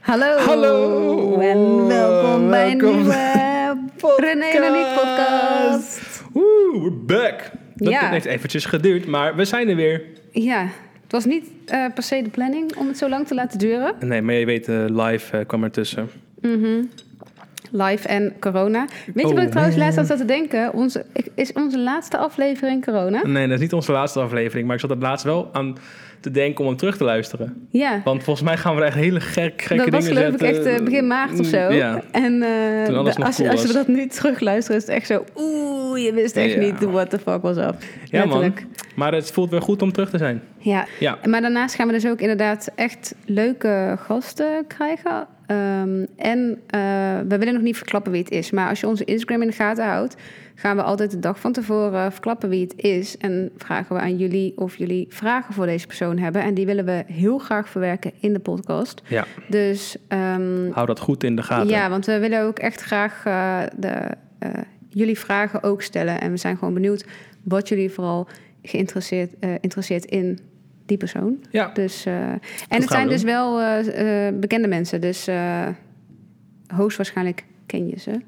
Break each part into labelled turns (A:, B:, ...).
A: Hallo.
B: Hallo.
A: En welkom bij een
B: Welkom.
A: nieuwe René en ik podcast.
B: Woe, we're back. Dat
A: Ja.
B: heeft eventjes geduurd, maar we zijn er weer.
A: Ja, het was niet eh, per se de planning om het zo lang te laten duren. Mhm.
B: Nee, maar je weet, eh, live eh, kwam ertussen.
A: Live en corona. Weet je
B: Oh,
A: wat ik trouwens
B: man.
A: laatst aan zat te denken? Onze, ik- is onze laatste aflevering corona?
B: Nee, dat is niet onze laatste aflevering, maar ik zat er laatst wel aan te denken om hem terug te luisteren.
A: Ja.
B: Want volgens mij gaan we er echt hele gek, gekke
A: Dat was
B: dingen
A: geloof ik echt
B: zetten. Mm,
A: eh, begin maart of zo.
B: Ja.
A: En eh,
B: Toen alles
A: de-
B: nog
A: als,
B: cool
A: als we
B: was.
A: dat nu terugluisteren, is het echt zo... Oeh, je wist echt
B: Ja.
A: niet what the fuck was up.
B: Ja, man.
A: Letterlijk.
B: Maar het voelt weer goed om terug te zijn.
A: Ja.
B: Ja.
A: Maar daarnaast gaan we dus ook inderdaad echt leuke gasten krijgen. Ehm, en eh, we willen nog niet verklappen wie het is. Maar als je onze Instagram in de gaten houdt, gaan we altijd de dag van tevoren verklappen wie het is. En vragen we aan jullie of jullie vragen voor deze persoon hebben. En die willen we heel graag verwerken in de podcast.
B: Ja,
A: Dus ehm,
B: hou dat goed in de gaten.
A: ja, want we willen ook echt graag eh, de, eh, jullie vragen ook stellen. En we zijn gewoon benieuwd wat jullie vooral geïnteresseerd eh, interesseert in die persoon.
B: Ja.
A: Dus, eh, en
B: gaan
A: het
B: we
A: zijn
B: doen.
A: dus wel eh, eh, bekende mensen. Dus eh hoogstwaarschijnlijk ken je ze.
B: Ja,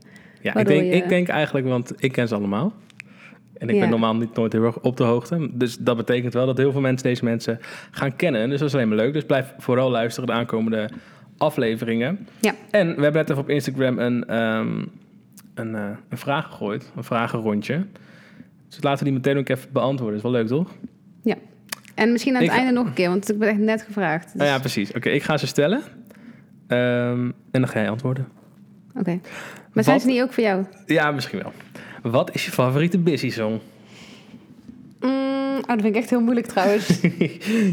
B: ik
A: Waardoor
B: denk,
A: je-
B: ik denk eigenlijk, want ik ken ze allemaal. En ik
A: Ja.
B: ben normaal niet nooit heel erg op de hoogte. Dus dat betekent wel dat heel veel mensen deze mensen gaan kennen. Dus dat is alleen maar leuk. Dus blijf vooral luisteren de aankomende afleveringen.
A: Ja.
B: En we hebben net even op Instagram een, ehm, een, eh, een vraag gegooid. Een vragenrondje. Dus laten we die meteen ook even beantwoorden. Is wel leuk, toch?
A: ja. En misschien aan het
B: Ik ga-
A: einde nog een keer, want ik ben echt net gevraagd. Dus-
B: Nou ja, precies. Oké, ik ga ze stellen. Ehm, en dan ga jij antwoorden.
A: Oké. Maar zijn
B: Wat-
A: ze niet ook voor jou?
B: Ja, misschien wel. Wat is je favoriete busy song?
A: Mm, oh, dat vind ik echt heel moeilijk trouwens.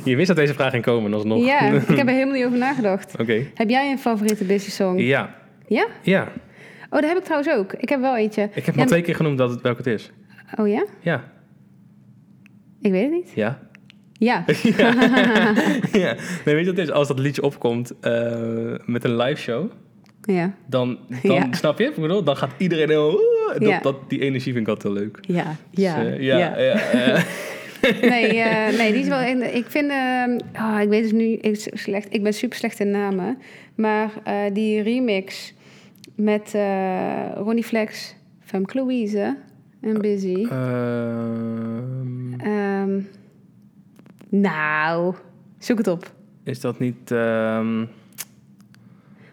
B: je wist dat deze vraag ging komen, alsnog.
A: ja, ik heb er helemaal niet over nagedacht.
B: Oké.
A: Heb jij een favoriete busy song?
B: Ja,
A: Ja?
B: ja.
A: Oh, daar heb ik trouwens ook. Ik heb wel eentje.
B: Ik
A: Ja,
B: heb maar twee keer genoemd dat het welke het is.
A: maar- Oh ja?
B: Ja,
A: Ik weet het niet.
B: ja.
A: Ja.
B: ja. Nee, weet je wat het is? Als dat liedje opkomt eh, met een live show,
A: ja.
B: dan, dan
A: Ja.
B: snap je? Ik bedoel, dan gaat iedereen heel... dat,
A: Ja.
B: dat, die energie vind ik altijd heel leuk.
A: Ja.
B: Dus, eh, ja, ja. eh,
A: Nee, eh, nee, die is wel... in de- Ik vind... ehm, ah, ik weet dus nu ik, s- slecht... Ik ben super slecht in namen. Maar eh, die remix met eh, Ronnie Flex, Femke Louise
B: Oh,
A: en Busy.
B: ehm,
A: Ehm, nou, zoek het op.
B: is dat niet... ehm,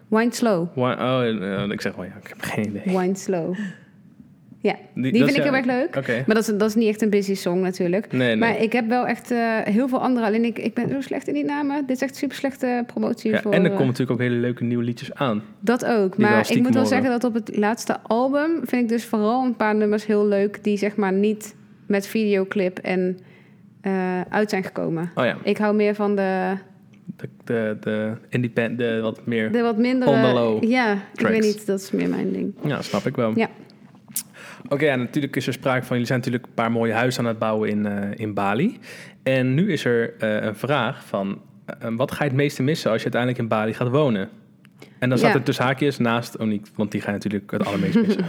A: Wind Slow.
B: one- oh, eh, ik zeg wel ja, ik heb geen idee.
A: Wind Slow. Ja, die,
B: dat
A: vind
B: is-
A: ik heel erg leuk.
B: Oké.
A: Maar dat is, dat is niet echt een busy song natuurlijk.
B: Nee, nee.
A: Maar ik heb wel echt eh, heel veel andere. Alleen ik, ik ben zo slecht in die namen. Dit is echt super slechte promotie
B: Ja,
A: voor...
B: en er
A: eh,
B: komen natuurlijk ook hele leuke nieuwe liedjes aan.
A: Dat ook.
B: wel
A: Maar ik
B: stiekem
A: moet wel
B: horen.
A: zeggen dat op het laatste album... vind ik dus vooral een paar nummers heel leuk... die zeg maar niet met videoclip en eh, uit zijn gekomen.
B: Oh ja,
A: Ik hou meer van de,
B: de, de, de independent, de wat meer...
A: de wat mindere...
B: On the low
A: Ja, ik
B: tracks.
A: weet niet. Dat is meer mijn ding.
B: Ja, snap ik wel.
A: Ja.
B: Oké, ja, natuurlijk is er sprake van... jullie zijn natuurlijk een paar mooie huizen aan het bouwen in, eh, in Bali. En nu is er eh, een vraag van... eh, wat ga je het meeste missen als je uiteindelijk in Bali gaat wonen? En dan staat
A: Ja.
B: er tussen haakjes naast Oniek... want die ga je natuurlijk het allermeest missen.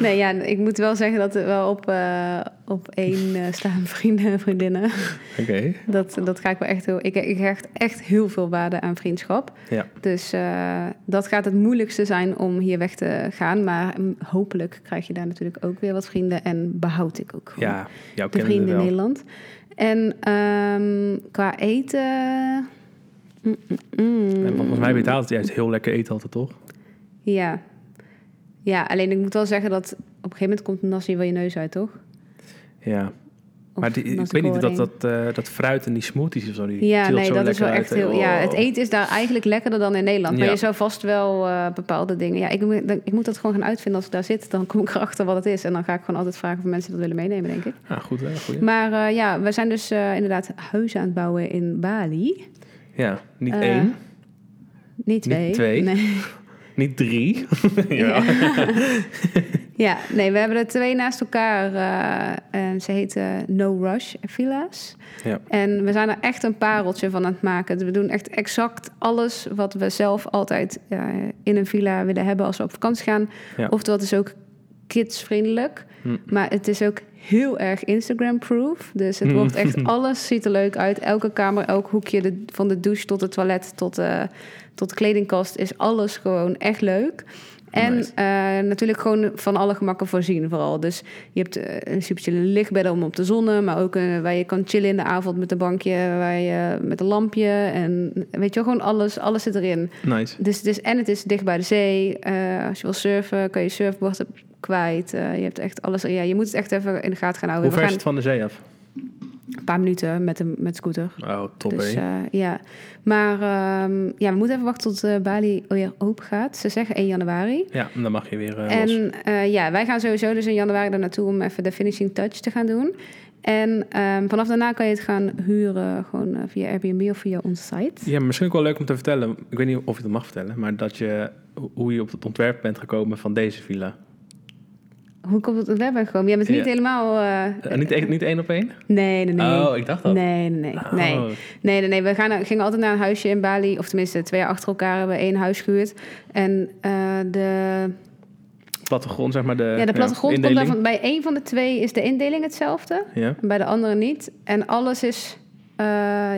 A: Nee, ja, ik moet wel zeggen dat er wel op, eh, op één eh, staan vrienden en vriendinnen.
B: Oké,
A: Dat, dat ga ik wel echt heel... Ik, ik hecht echt heel veel waarde aan vriendschap.
B: ja.
A: Dus eh, dat gaat het moeilijkste zijn om hier weg te gaan. Maar mm, hopelijk krijg je daar natuurlijk ook weer wat vrienden. En behoud ik ook gewoon
B: Ja, jouw
A: de
B: kennen
A: vrienden
B: we
A: in
B: wel.
A: Nederland. En ehm, qua eten... mm, mm, mm.
B: En volgens mij betaalt het juist heel lekker eten altijd, toch?
A: Ja. Ja, alleen ik moet wel zeggen dat... Op een gegeven moment komt nasi wel je neus uit, toch?
B: Ja.
A: Of
B: maar die, ik
A: nasi
B: weet niet dat
A: goreng.
B: dat, eh, dat fruit en die smoothies of zo... Die
A: Ja,
B: trilt
A: nee,
B: zo
A: dat is
B: lekker
A: wel
B: uit,
A: echt
B: hè.
A: heel. Ja,
B: Oh.
A: het eten is daar eigenlijk lekkerder dan in Nederland. Maar
B: Ja.
A: je zou vast wel eh, bepaalde dingen. Ja, ik, moet- ik moet dat gewoon gaan uitvinden als ik daar zit. Dan kom ik erachter wat het is. En dan ga ik gewoon altijd vragen of mensen dat willen meenemen, denk ik.
B: Ah, goed, hè? Goeie.
A: Maar eh, ja, we zijn dus eh, inderdaad huizen aan het bouwen in Bali.
B: Ja, niet
A: Eh,
B: één,
A: Niet twee.
B: twee.
A: Nee.
B: niet drie.
A: Ja. ja, nee, we hebben er twee naast elkaar. eh, en ze heten No Rush Villas.
B: ja.
A: En we zijn er echt een pareltje van aan het maken. We doen echt exact alles wat we zelf altijd eh, in een villa willen hebben als we op vakantie gaan.
B: Ja.
A: Oftewel, het is ook kidsvriendelijk.
B: Hm.
A: Maar het is ook heel erg Instagram-proof. Dus het wordt echt, alles ziet er leuk uit. Elke kamer, elk hoekje, de- van de douche tot het toilet tot, eh, tot de kledingkast, is alles gewoon echt leuk. En
B: Nice.
A: eh, natuurlijk gewoon van alle gemakken voorzien vooral. Dus je hebt eh, een subtiele lichtbedden om op te zonnen, maar ook eh, waar je kan chillen in de avond met een bankje, waar je, met een lampje. En weet je wel, gewoon alles, alles zit erin.
B: Nice.
A: Dus het is, en het is dicht bij de zee. Eh, als je wil surfen, kan je surfboard er kwijt. Eh, je hebt echt alles. Ja, je moet het echt even in de gaten gaan houden.
B: Hoe
A: Oh, We
B: ver is
A: gaan
B: het van de zee af?
A: een paar minuten met de met scooter.
B: Oh, top
A: Dus
B: hè?
A: eh, ja. Maar ehm, ja, we moeten even wachten tot eh, Bali weer open gaat. Ze zeggen 1 januari.
B: Ja, dan mag je weer eh,
A: En
B: los.
A: eh, ja, wij gaan sowieso dus in januari daar naartoe om even de finishing touch te gaan doen. En ehm, vanaf daarna kan je het gaan huren, gewoon eh, via Airbnb of via onze site.
B: Ja, maar misschien ook wel leuk om te vertellen. Ik weet niet of je dat mag vertellen, maar dat je hoe je op het ontwerp bent gekomen van deze villa.
A: Hoe komt het ontwerp gekomen? Jij bent niet
B: Ja.
A: helemaal... eh,
B: Eh, niet, echt- niet één op één?
A: Nee, nee, nee.
B: Oh, ik dacht dat.
A: Nee, nee, nee. nee.
B: Oh.
A: Nee, nee, nee. We gaan, eh, gingen altijd naar een huisje in Bali. Of tenminste, twee jaar achter elkaar hebben we één huis gehuurd. En eh, de,
B: Plattegrond, zeg maar. De,
A: ja, de plattegrond komt
B: indeling.
A: daarvan. Bij één van de twee is de indeling hetzelfde.
B: Ja.
A: En bij de andere niet. En alles is, eh,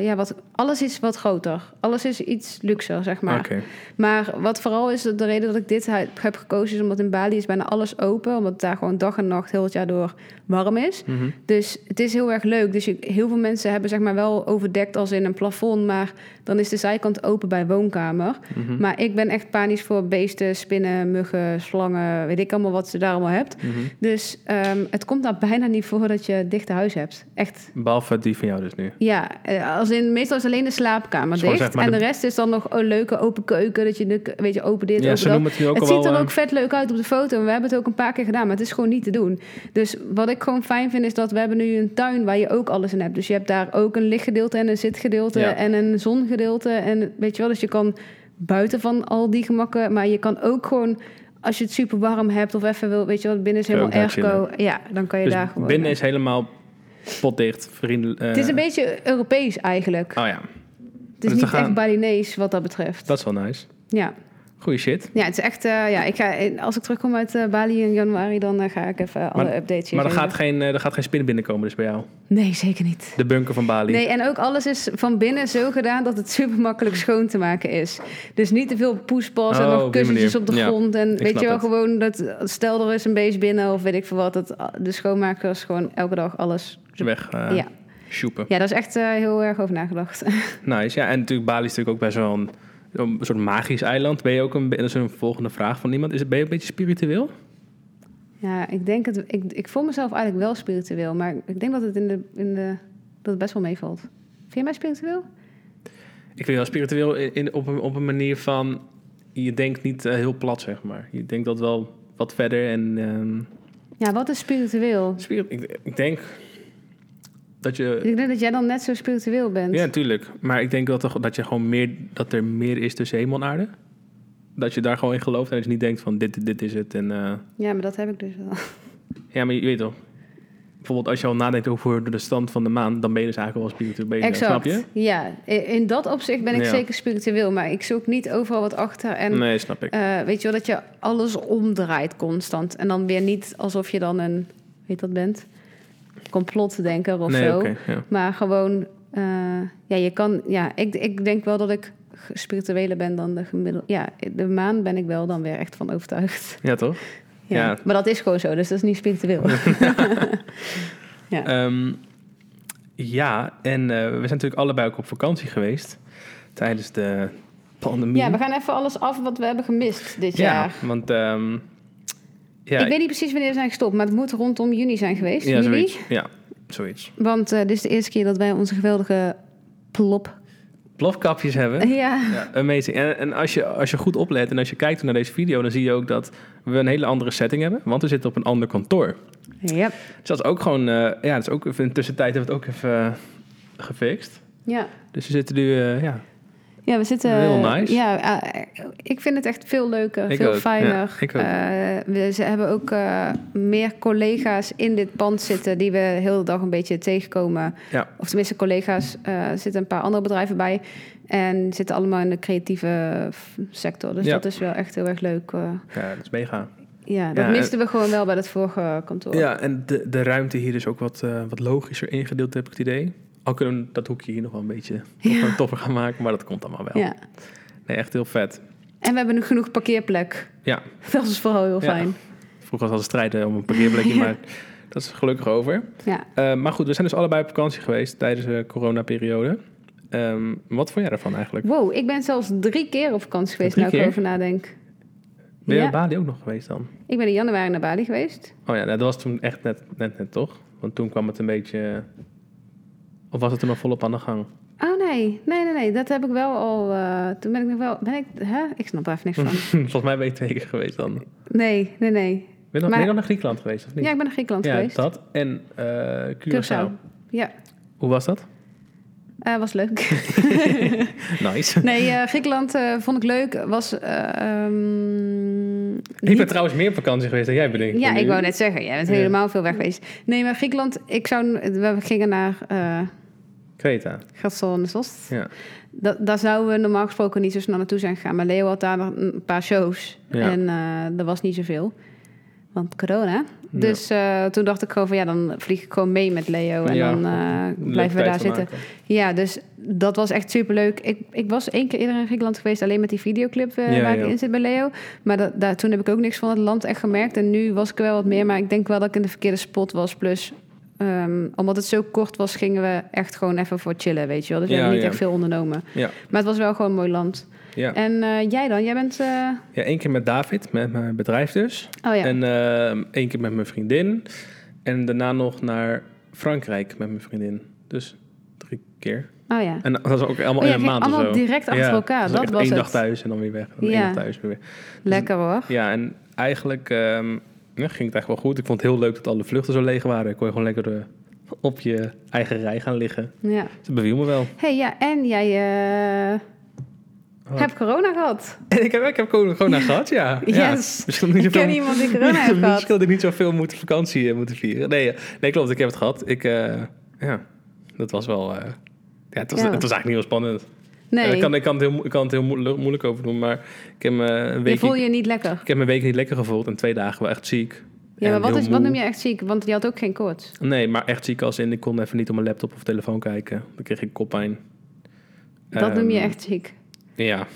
A: ja, wat, alles is wat groter. Alles is iets luxer, zeg maar.
B: Oké.
A: Maar wat vooral is de reden dat ik dit hui- heb gekozen... is omdat in Bali is bijna alles open. Omdat het daar gewoon dag en nacht heel het jaar door warm is.
B: Mhm.
A: Dus het is heel erg leuk. Dus je- heel veel mensen hebben zeg maar wel overdekt als in een plafond, maar dan is de zijkant open bij woonkamer.
B: Mhm.
A: Maar ik ben echt panisch voor beesten, spinnen, muggen, slangen, weet ik allemaal wat ze daar allemaal hebt.
B: Mhm.
A: Dus ehm, het komt daar bijna niet voor dat je dicht huis hebt. Echt.
B: Behalve die van jou dus nu.
A: Ja, eh, als in, meestal is alleen de slaapkamer
B: Dus gewoon
A: dicht.
B: zeg maar
A: en
B: de-
A: de rest is dan nog een leuke open keuken. Dat je de- weet je, open dit,
B: Ja,
A: open
B: ze
A: dat
B: noemen het nu ook
A: het
B: al
A: ziet
B: wel...
A: er
B: eh,
A: ook vet leuk uit op de foto. En we hebben het ook een paar keer gedaan, maar het is gewoon niet te doen. Dus wat ik gewoon fijn vind, is dat we hebben nu een tuin waar je ook alles in hebt. Dus je hebt daar ook een lichtgedeelte en een zitgedeelte
B: Ja.
A: en een zongedeelte. En weet je wel, dus je kan buiten van al die gemakken, maar je kan ook gewoon... Als je het super warm hebt of even wil, weet je wat, binnen is
B: Kun je
A: helemaal
B: ook daar
A: airco. Ja, dan kan je
B: dus
A: daar gewoon...
B: binnen is helemaal potdicht, vriendelijk. eh,
A: Het is een beetje Europees eigenlijk.
B: Oh ja,
A: het is
B: dus we
A: niet echt
B: gaan-
A: Balinees wat dat betreft.
B: dat is wel nice.
A: Ja.
B: Goeie shit.
A: ja, het is echt... eh, ja, ik ga, als ik terugkom uit eh, Bali in januari, dan eh, ga ik even alle updates hier
B: Maar er
A: geven.
B: gaat, geen, eh, er gaat geen spin binnenkomen dus bij jou.
A: Nee, zeker niet.
B: De bunker van Bali.
A: Nee, en ook alles is van binnen zo gedaan dat het super makkelijk schoon te maken is. Dus niet te veel poespas en
B: Oh,
A: nog
B: op die
A: kussentjes
B: manier.
A: op de
B: Ja,
A: grond. En weet
B: snap
A: je wel,
B: het.
A: gewoon dat stel er is een beest binnen of weet ik veel wat. Dat de schoonmakers gewoon elke dag alles.
B: Weg eh
A: Ja.
B: sjoepen.
A: Ja, daar is echt eh, heel erg over nagedacht.
B: Nice, ja. En natuurlijk, Bali is natuurlijk ook best wel een, een soort magisch eiland. Ben je ook een... be- Dat is een volgende vraag van iemand. Is het, ben je een beetje spiritueel?
A: ja, ik denk het. Ik, ik voel mezelf eigenlijk wel spiritueel, maar ik denk dat het in de, in de dat het best wel meevalt. Vind je mij spiritueel?
B: Ik vind wel spiritueel in, in- op, een, op een manier van... Je denkt niet eh, heel plat, zeg maar. Je denkt dat wel wat verder en... ehm,
A: Ja, wat is spiritueel?
B: spirit- ik, ik denk dat je...
A: Ik denk dat jij dan net zo spiritueel bent.
B: Eh, Ja, natuurlijk. Maar ik denk dat er, dat je gewoon meer, dat er meer is tussen hemel en aarde. Dat je daar gewoon in gelooft en dat je niet denkt van dit, dit is het. En, eh,
A: ja, maar dat heb ik dus wel.
B: ja, maar je, weet toch. Bijvoorbeeld als je al nadenkt over de stand van de maan, dan ben je dus eigenlijk wel spiritueel bezig.
A: Exact.
B: Snap je?
A: Ja, in in dat opzicht ben ik
B: Ja.
A: zeker spiritueel, maar ik zoek niet overal wat achter. En
B: nee, snap ik.
A: eh, weet je wel, dat je alles omdraait constant. En dan weer niet alsof je dan een, weet dat bent, complotdenker of
B: nee,
A: zo.
B: oké, ja.
A: Maar gewoon, eh, ja, je kan, ja, ik, ik denk wel dat ik spiritueler ben dan de gemiddelde. Ja, de maan ben ik wel dan weer echt van overtuigd.
B: ja, toch?
A: Ja.
B: Ja.
A: Maar dat is gewoon zo, dus dat is niet spiritueel. Ja.
B: Ehm, ja, en eh, we zijn natuurlijk allebei ook op vakantie geweest tijdens de pandemie.
A: ja, we gaan even alles af wat we hebben gemist dit
B: Ja,
A: jaar.
B: want ehm, ja,
A: ik weet niet precies wanneer we zijn gestopt, maar het moet rondom juni zijn geweest.
B: ja,
A: juli.
B: zoiets. Ja, zoiets.
A: Want eh, dit is de eerste keer dat wij onze geweldige plop.
B: Plofkapjes hebben.
A: Ja.
B: Ja, amazing. En, en als, je, als je goed oplet en als je kijkt naar deze video, dan zie je ook dat we een hele andere setting hebben, want we zitten op een ander kantoor.
A: Yep.
B: Dus dat is ook gewoon, eh, ja, dat is ook even in de tussentijd hebben we het ook even eh, gefixt.
A: Ja.
B: Dus we zitten nu, eh, ja,
A: Ja, we zitten.
B: Heel nice.
A: Ja, eh, ik vind het echt veel leuker,
B: Ik
A: veel
B: ook, ja,
A: fijner.
B: ik ook.
A: Eh, we ze hebben ook eh, meer collega's in dit pand zitten die we heel de dag een beetje tegenkomen.
B: Ja.
A: Of tenminste, collega's. eh, er zitten een paar andere bedrijven bij. En zitten allemaal in de creatieve f- sector. Dus
B: Ja.
A: dat is wel echt heel erg leuk. eh.
B: ja, dat is mega.
A: ja, dat
B: Ja, eh,
A: misten we gewoon wel bij dat vorige kantoor.
B: Ja, en de, de ruimte hier is ook wat, eh, wat logischer ingedeeld, heb ik het idee. Al kunnen we dat hoekje hier nog wel een beetje
A: Ja.
B: topper gaan maken, maar dat komt allemaal wel.
A: Ja.
B: Nee, echt heel vet.
A: En we hebben nu genoeg parkeerplek.
B: Ja,
A: Dat is vooral heel
B: Ja.
A: fijn.
B: vroeger was het al strijden om een parkeerplekje, maar dat is gelukkig over.
A: Ja.
B: Eh, maar goed, we zijn dus allebei op vakantie geweest tijdens de coronaperiode. Ehm, wat vond jij daarvan eigenlijk?
A: Wow, ik ben zelfs drie keer op vakantie geweest,
B: Drie
A: nou ik
B: keer?
A: erover nadenk.
B: Ben je
A: Ja.
B: op Bali ook nog geweest dan?
A: Ik ben in januari naar Bali geweest.
B: Oh ja, dat was toen echt net, net, net toch? Want toen kwam het een beetje... Of was het toen al volop aan de gang?
A: Oh nee, nee, nee, nee. Dat heb ik wel al. eh, toen ben ik nog wel. Ben ik, hè? ik snap daar even niks van.
B: Volgens mij ben je twee keer geweest dan. Ben
A: Nee, nee, nee.
B: je nog, ben je
A: Maar-
B: nog naar Griekenland geweest of niet?
A: Ja, ik ben naar Griekenland
B: Ja,
A: geweest.
B: dat en eh Curaçao.
A: Curaçao. Ja,
B: Hoe was dat?
A: eh, was leuk.
B: Nice.
A: nee, eh, Griekenland eh, vond ik leuk. Was. eh, ehm,
B: Ik ben
A: niet-
B: trouwens meer op vakantie geweest dan jij bedenkt.
A: Ja,
B: nu.
A: ik wou net zeggen, jij bent
B: Ja.
A: helemaal veel weg geweest. Nee, maar Griekenland, ik zou, we gingen naar eh
B: Creta.
A: Gatsonesos.
B: Ja.
A: Da- daar zouden we normaal gesproken niet zo snel naartoe zijn gegaan. Maar Leo had daar nog een paar shows.
B: Ja.
A: En eh er was niet zoveel. Want corona.
B: Ja.
A: Dus eh, toen dacht ik gewoon van ja, dan vlieg ik gewoon mee met Leo. En
B: Ja,
A: dan eh,
B: Leuke
A: blijven we
B: tijd
A: daar
B: van
A: zitten.
B: maken.
A: Ja, dus dat was echt superleuk. Ik, ik was één keer eerder in Griekenland geweest, alleen met die videoclip eh,
B: Ja,
A: waar
B: ja.
A: ik in zit bij Leo. Maar dat, daar, toen heb ik ook niks van het land echt gemerkt. En nu was ik er wel wat meer, maar ik denk wel dat ik in de verkeerde spot was. Plus, ehm, omdat het zo kort was, gingen we echt gewoon even voor chillen, weet je wel. Dus we
B: Ja,
A: hebben niet
B: ja.
A: echt veel ondernomen.
B: Ja.
A: Maar het was wel gewoon een mooi land.
B: Ja.
A: En eh, jij dan? Jij bent... eh,
B: ja, één keer met David, met mijn bedrijf dus.
A: Oh ja,
B: En eh, één keer met mijn vriendin. En daarna nog naar Frankrijk met mijn vriendin. Dus drie keer.
A: oh ja.
B: En dat was ook allemaal
A: Oh, jij
B: in een
A: ging
B: maand of
A: allemaal
B: zo.
A: direct achter elkaar,
B: dus
A: dat
B: echt
A: was
B: één
A: het.
B: dag thuis en dan weer weg. En dan
A: Ja.
B: één dag thuis en weer weg.
A: Lekker hoor.
B: Ja, en eigenlijk ehm, ja, ging het echt wel goed. Ik vond het heel leuk dat alle vluchten zo leeg waren. Kon je gewoon lekker eh, op je eigen rij gaan liggen.
A: Ja.
B: Dus Dat beviel me wel.
A: hey, ja, en jij eh,
B: Wat?
A: hebt corona gehad.
B: En ik heb, ik heb corona corona gehad, ja. ja.
A: Yes.
B: Misschien niet
A: Ik
B: zoveel,
A: ken iemand die corona heeft
B: Misschien
A: gehad.
B: had ik niet zoveel moeten vakantie eh, moeten vieren. Nee, eh, nee, klopt. Ik heb het gehad. Ik, eh, ja, dat was wel... eh, ja, het was,
A: Ja.
B: het was eigenlijk niet heel spannend. Ja,
A: Nee,
B: ik, kan, ik, kan het heel, mo- ik kan het heel moe- moeilijk over doen, maar ik heb me een
A: je
B: week...
A: voel je niet lekker.
B: Ik heb mijn week niet lekker gevoeld en twee dagen wel echt ziek.
A: Ja, maar
B: En
A: wat,
B: heel
A: is, wat
B: moe.
A: noem je echt ziek? Want je had ook geen koorts.
B: Nee, maar echt ziek als in ik kon even niet op mijn laptop of telefoon kijken. Dan kreeg ik koppijn.
A: Dat noem je
B: Ehm,
A: echt ziek.
B: Ja.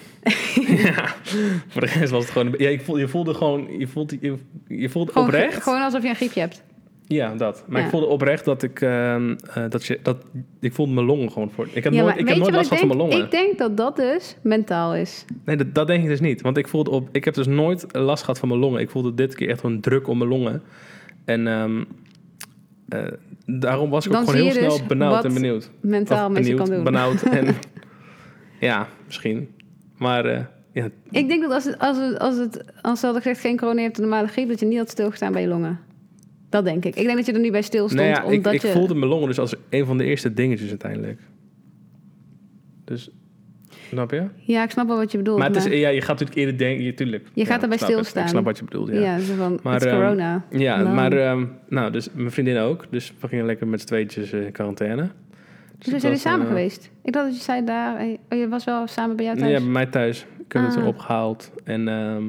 B: ja. Voor de rest was het gewoon... een be- Ja, ik voel, je voelde gewoon... Je voelt, je, je voelt
A: Gewoon,
B: oprecht...
A: gewoon alsof je een griepje hebt.
B: Ja, dat. Maar
A: Ja.
B: ik voelde oprecht dat ik... ehm, eh, dat je, dat, ik voelde mijn longen gewoon voor... Ik heb
A: Ja,
B: nooit,
A: maar
B: ik heb
A: weet
B: nooit
A: je
B: last
A: wat
B: gehad
A: ik
B: van mijn
A: denk?
B: longen.
A: Ik denk dat dat dus mentaal is.
B: Nee, dat, dat denk ik dus niet. Want ik voelde op... Ik heb dus nooit last gehad van mijn longen. Ik voelde dit keer echt een druk om mijn longen. En... ehm, eh, daarom was ik
A: Dan
B: ook gewoon
A: zie
B: heel
A: je
B: snel
A: dus
B: benauwd
A: wat
B: en benieuwd.
A: Mentaal
B: Of
A: met je kan
B: benieuwd,
A: doen.
B: benauwd en... ja, misschien. Maar eh, ja,
A: Ik denk dat als het, als het, als het, als ze hadden gezegd geen corona, je hebt een normale griep, dat je niet had stilgestaan bij je longen. Dat denk ik. Ik denk dat je er nu bij stil stond,
B: nou ja, ik,
A: omdat
B: ik
A: je...
B: voelde mijn longen dus als een van de eerste dingetjes uiteindelijk. Dus, snap je?
A: Ja, ik snap wel wat je bedoelt.
B: Maar het is, ja, je gaat natuurlijk eerder denken, je, tuurlijk.
A: Je gaat
B: Ja,
A: erbij
B: ik snap het.
A: stilstaan.
B: Ik snap wat je bedoelt, ja.
A: ja.
B: Ja,
A: zo van,
B: Maar,
A: het is
B: ehm,
A: corona. Nou.
B: maar, ehm, nou, dus mijn vriendin ook. Dus we gingen lekker met z'n tweetjes eh, in quarantaine.
A: Dus we
B: ik
A: zijn
B: was,
A: samen
B: eh,
A: geweest. Ik dacht dat je zei daar... eh, Oh, je was wel samen bij jou
B: Ja,
A: thuis?
B: bij mij thuis. Ik heb het
A: Ah.
B: opgehaald. En ehm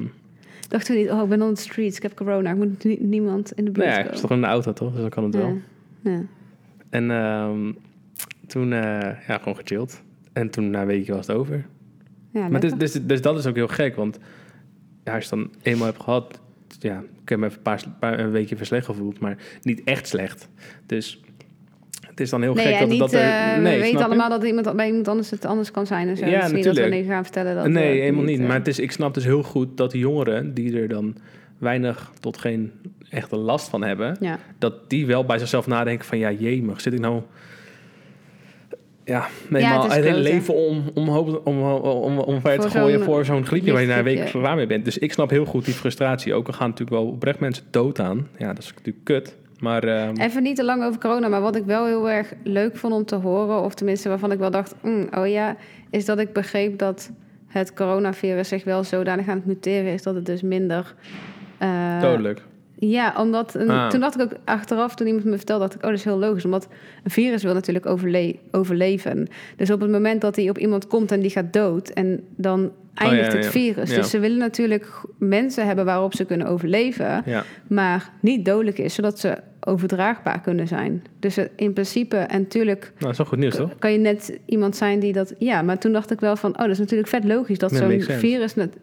A: Dacht toen niet, oh, ik ben on the streets, ik heb corona. Ik moet ni- niemand in de
B: nou
A: buurt
B: ja,
A: komen.
B: het is toch in de auto, toch? Dus dan kan het wel.
A: Ja. Ja.
B: En ehm, toen, eh, ja, gewoon gechilled. En toen na een weekje was het over.
A: Ja,
B: maar dus,
A: lekker.
B: dus, dus dat is ook heel gek, want ja, als je het dan eenmaal hebt gehad, ja, ik heb me even een, paar, paar- een weekje even slecht gevoeld, maar niet echt slecht. Dus het is dan heel
A: Nee,
B: gek
A: en
B: dat
A: niet,
B: dat er...
A: eh, we
B: snap
A: weten
B: je?
A: allemaal dat iemand, bij iemand anders het anders kan zijn. En zo.
B: Ja,
A: Het is niet dat we
B: natuurlijk.
A: nu gaan vertellen dat...
B: nee,
A: eh,
B: helemaal niet.
A: eh,
B: Maar het is, ik snap dus heel goed dat die jongeren die er dan weinig tot geen echte last van hebben,
A: Ja.
B: dat die wel bij zichzelf nadenken van ja, jemig, zit ik nou... Ja, nee,
A: Ja, het
B: maar
A: is
B: het hele
A: kloten.
B: leven om, om, om, om, om, omver te
A: Voor
B: gooien
A: zo'n
B: voor zo'n griepje waar je na een week
A: licht griepje.
B: klaar mee bent. Dus ik snap heel goed die frustratie. Ook al gaan natuurlijk wel oprecht mensen dood aan. Ja, dat is natuurlijk kut. Maar ehm,
A: Even niet te lang over corona, maar wat ik wel heel erg leuk vond om te horen, of tenminste waarvan ik wel dacht, "Mm, oh ja, is dat ik begreep dat het coronavirus zich wel zodanig aan het muteren is dat het dus minder eh,
B: dodelijk.
A: Ja, omdat een-
B: Ah.
A: toen dacht ik ook achteraf, toen iemand me vertelde, dacht ik, oh, dat is heel logisch. Omdat een virus wil natuurlijk overle- overleven. Dus op het moment dat hij op iemand komt en die gaat dood, en dan eindigt
B: Oh, ja,
A: het
B: ja.
A: virus.
B: Ja.
A: Dus ze willen natuurlijk g- mensen hebben waarop ze kunnen overleven,
B: Ja. nou,
A: maar niet dodelijk is, zodat ze overdraagbaar kunnen zijn. Dus eh, in principe, en natuurlijk
B: Nou, dat is wel goed nieuws, toch?
A: kan je net iemand zijn die dat. Ja, maar toen dacht ik wel van, oh, dat is natuurlijk vet logisch dat
B: Ja,
A: zo'n
B: makes sense.
A: virus, net,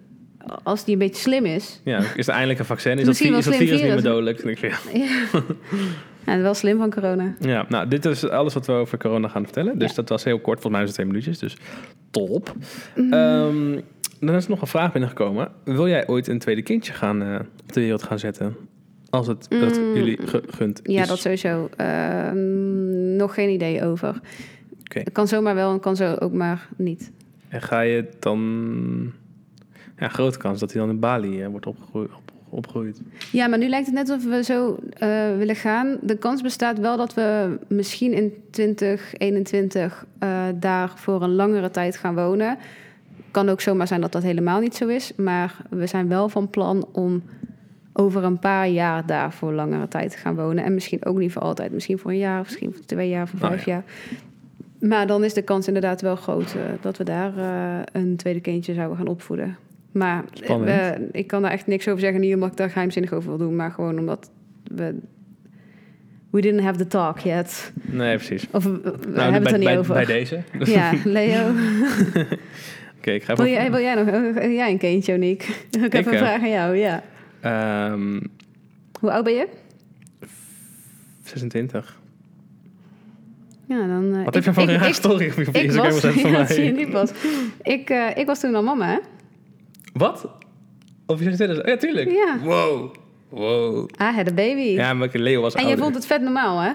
A: als die een beetje slim is,
B: Ja, is er eindelijk een vaccin? Is, dat,
A: Misschien
B: vi-
A: wel
B: is
A: slim
B: dat virus niet meer
A: virus.
B: dodelijk? Dan denk ik, ja.
A: Ja. ja, wel slim van corona.
B: ja, nou, dit is alles wat we over corona gaan vertellen. Dus
A: Ja.
B: dat was heel kort, volgens mij was het twee minuutjes. Dus top.
A: Mm.
B: Ehm, dan is er nog een vraag binnengekomen. Wil jij ooit een tweede kindje gaan, eh, op de wereld gaan zetten? Als het dat
A: Mm.
B: jullie gegund
A: Ja,
B: is.
A: dat sowieso. Ehm, nog geen idee over.
B: Oké.
A: Het Kan zomaar wel en kan zo ook maar niet.
B: En ga je dan... Ja, grote kans dat hij dan in Bali eh, wordt opgegroeid. Op, opgegroeid.
A: Ja, maar nu lijkt het net alsof we zo eh, willen gaan. De kans bestaat wel dat we misschien in 2021 eh, daar voor een langere tijd gaan wonen. Kan ook zomaar zijn dat dat helemaal niet zo is. Maar we zijn wel van plan om over een paar jaar daar voor langere tijd te gaan wonen. En misschien ook niet voor altijd. Misschien voor een jaar, misschien voor twee jaar, voor
B: Nou
A: vijf jaar. Maar dan is de kans inderdaad wel groot eh, dat we daar eh, een tweede kindje zouden gaan opvoeden. Maar eh,
B: Spannend.
A: we- ik kan daar echt niks over zeggen. Niet omdat ik daar geheimzinnig over wil doen, maar gewoon omdat we. We didn't have the talk yet.
B: Nee, precies.
A: Of we, we hebben
B: Nou,
A: het
B: bij,
A: er niet
B: bij,
A: over.
B: bij deze. Oké,
A: Ja, Leo.
B: ik ga even...
A: Wil jij, wil jij nog wil jij een kindje, Oniek? Ik
B: Ik,
A: heb een
B: eh,
A: vraag aan jou, ja.
B: Ehm,
A: Hoe oud ben je?
B: 26.
A: Ja, dan... eh,
B: Wat
A: ik-
B: heb je van
A: ik-
B: een raar
A: ik-
B: story op je
A: Ik
B: Instagram
A: was,
B: gezet van
A: ja, dat zie je
B: mij?
A: nu pas. Ik, eh, ik was toen al mama, hè?
B: Wat? Of je 26? Ja, tuurlijk.
A: Ja.
B: Wow. Wow.
A: Ah, had a baby.
B: Ja, maar Leo was
A: en je
B: ouder.
A: vond het vet normaal, hè?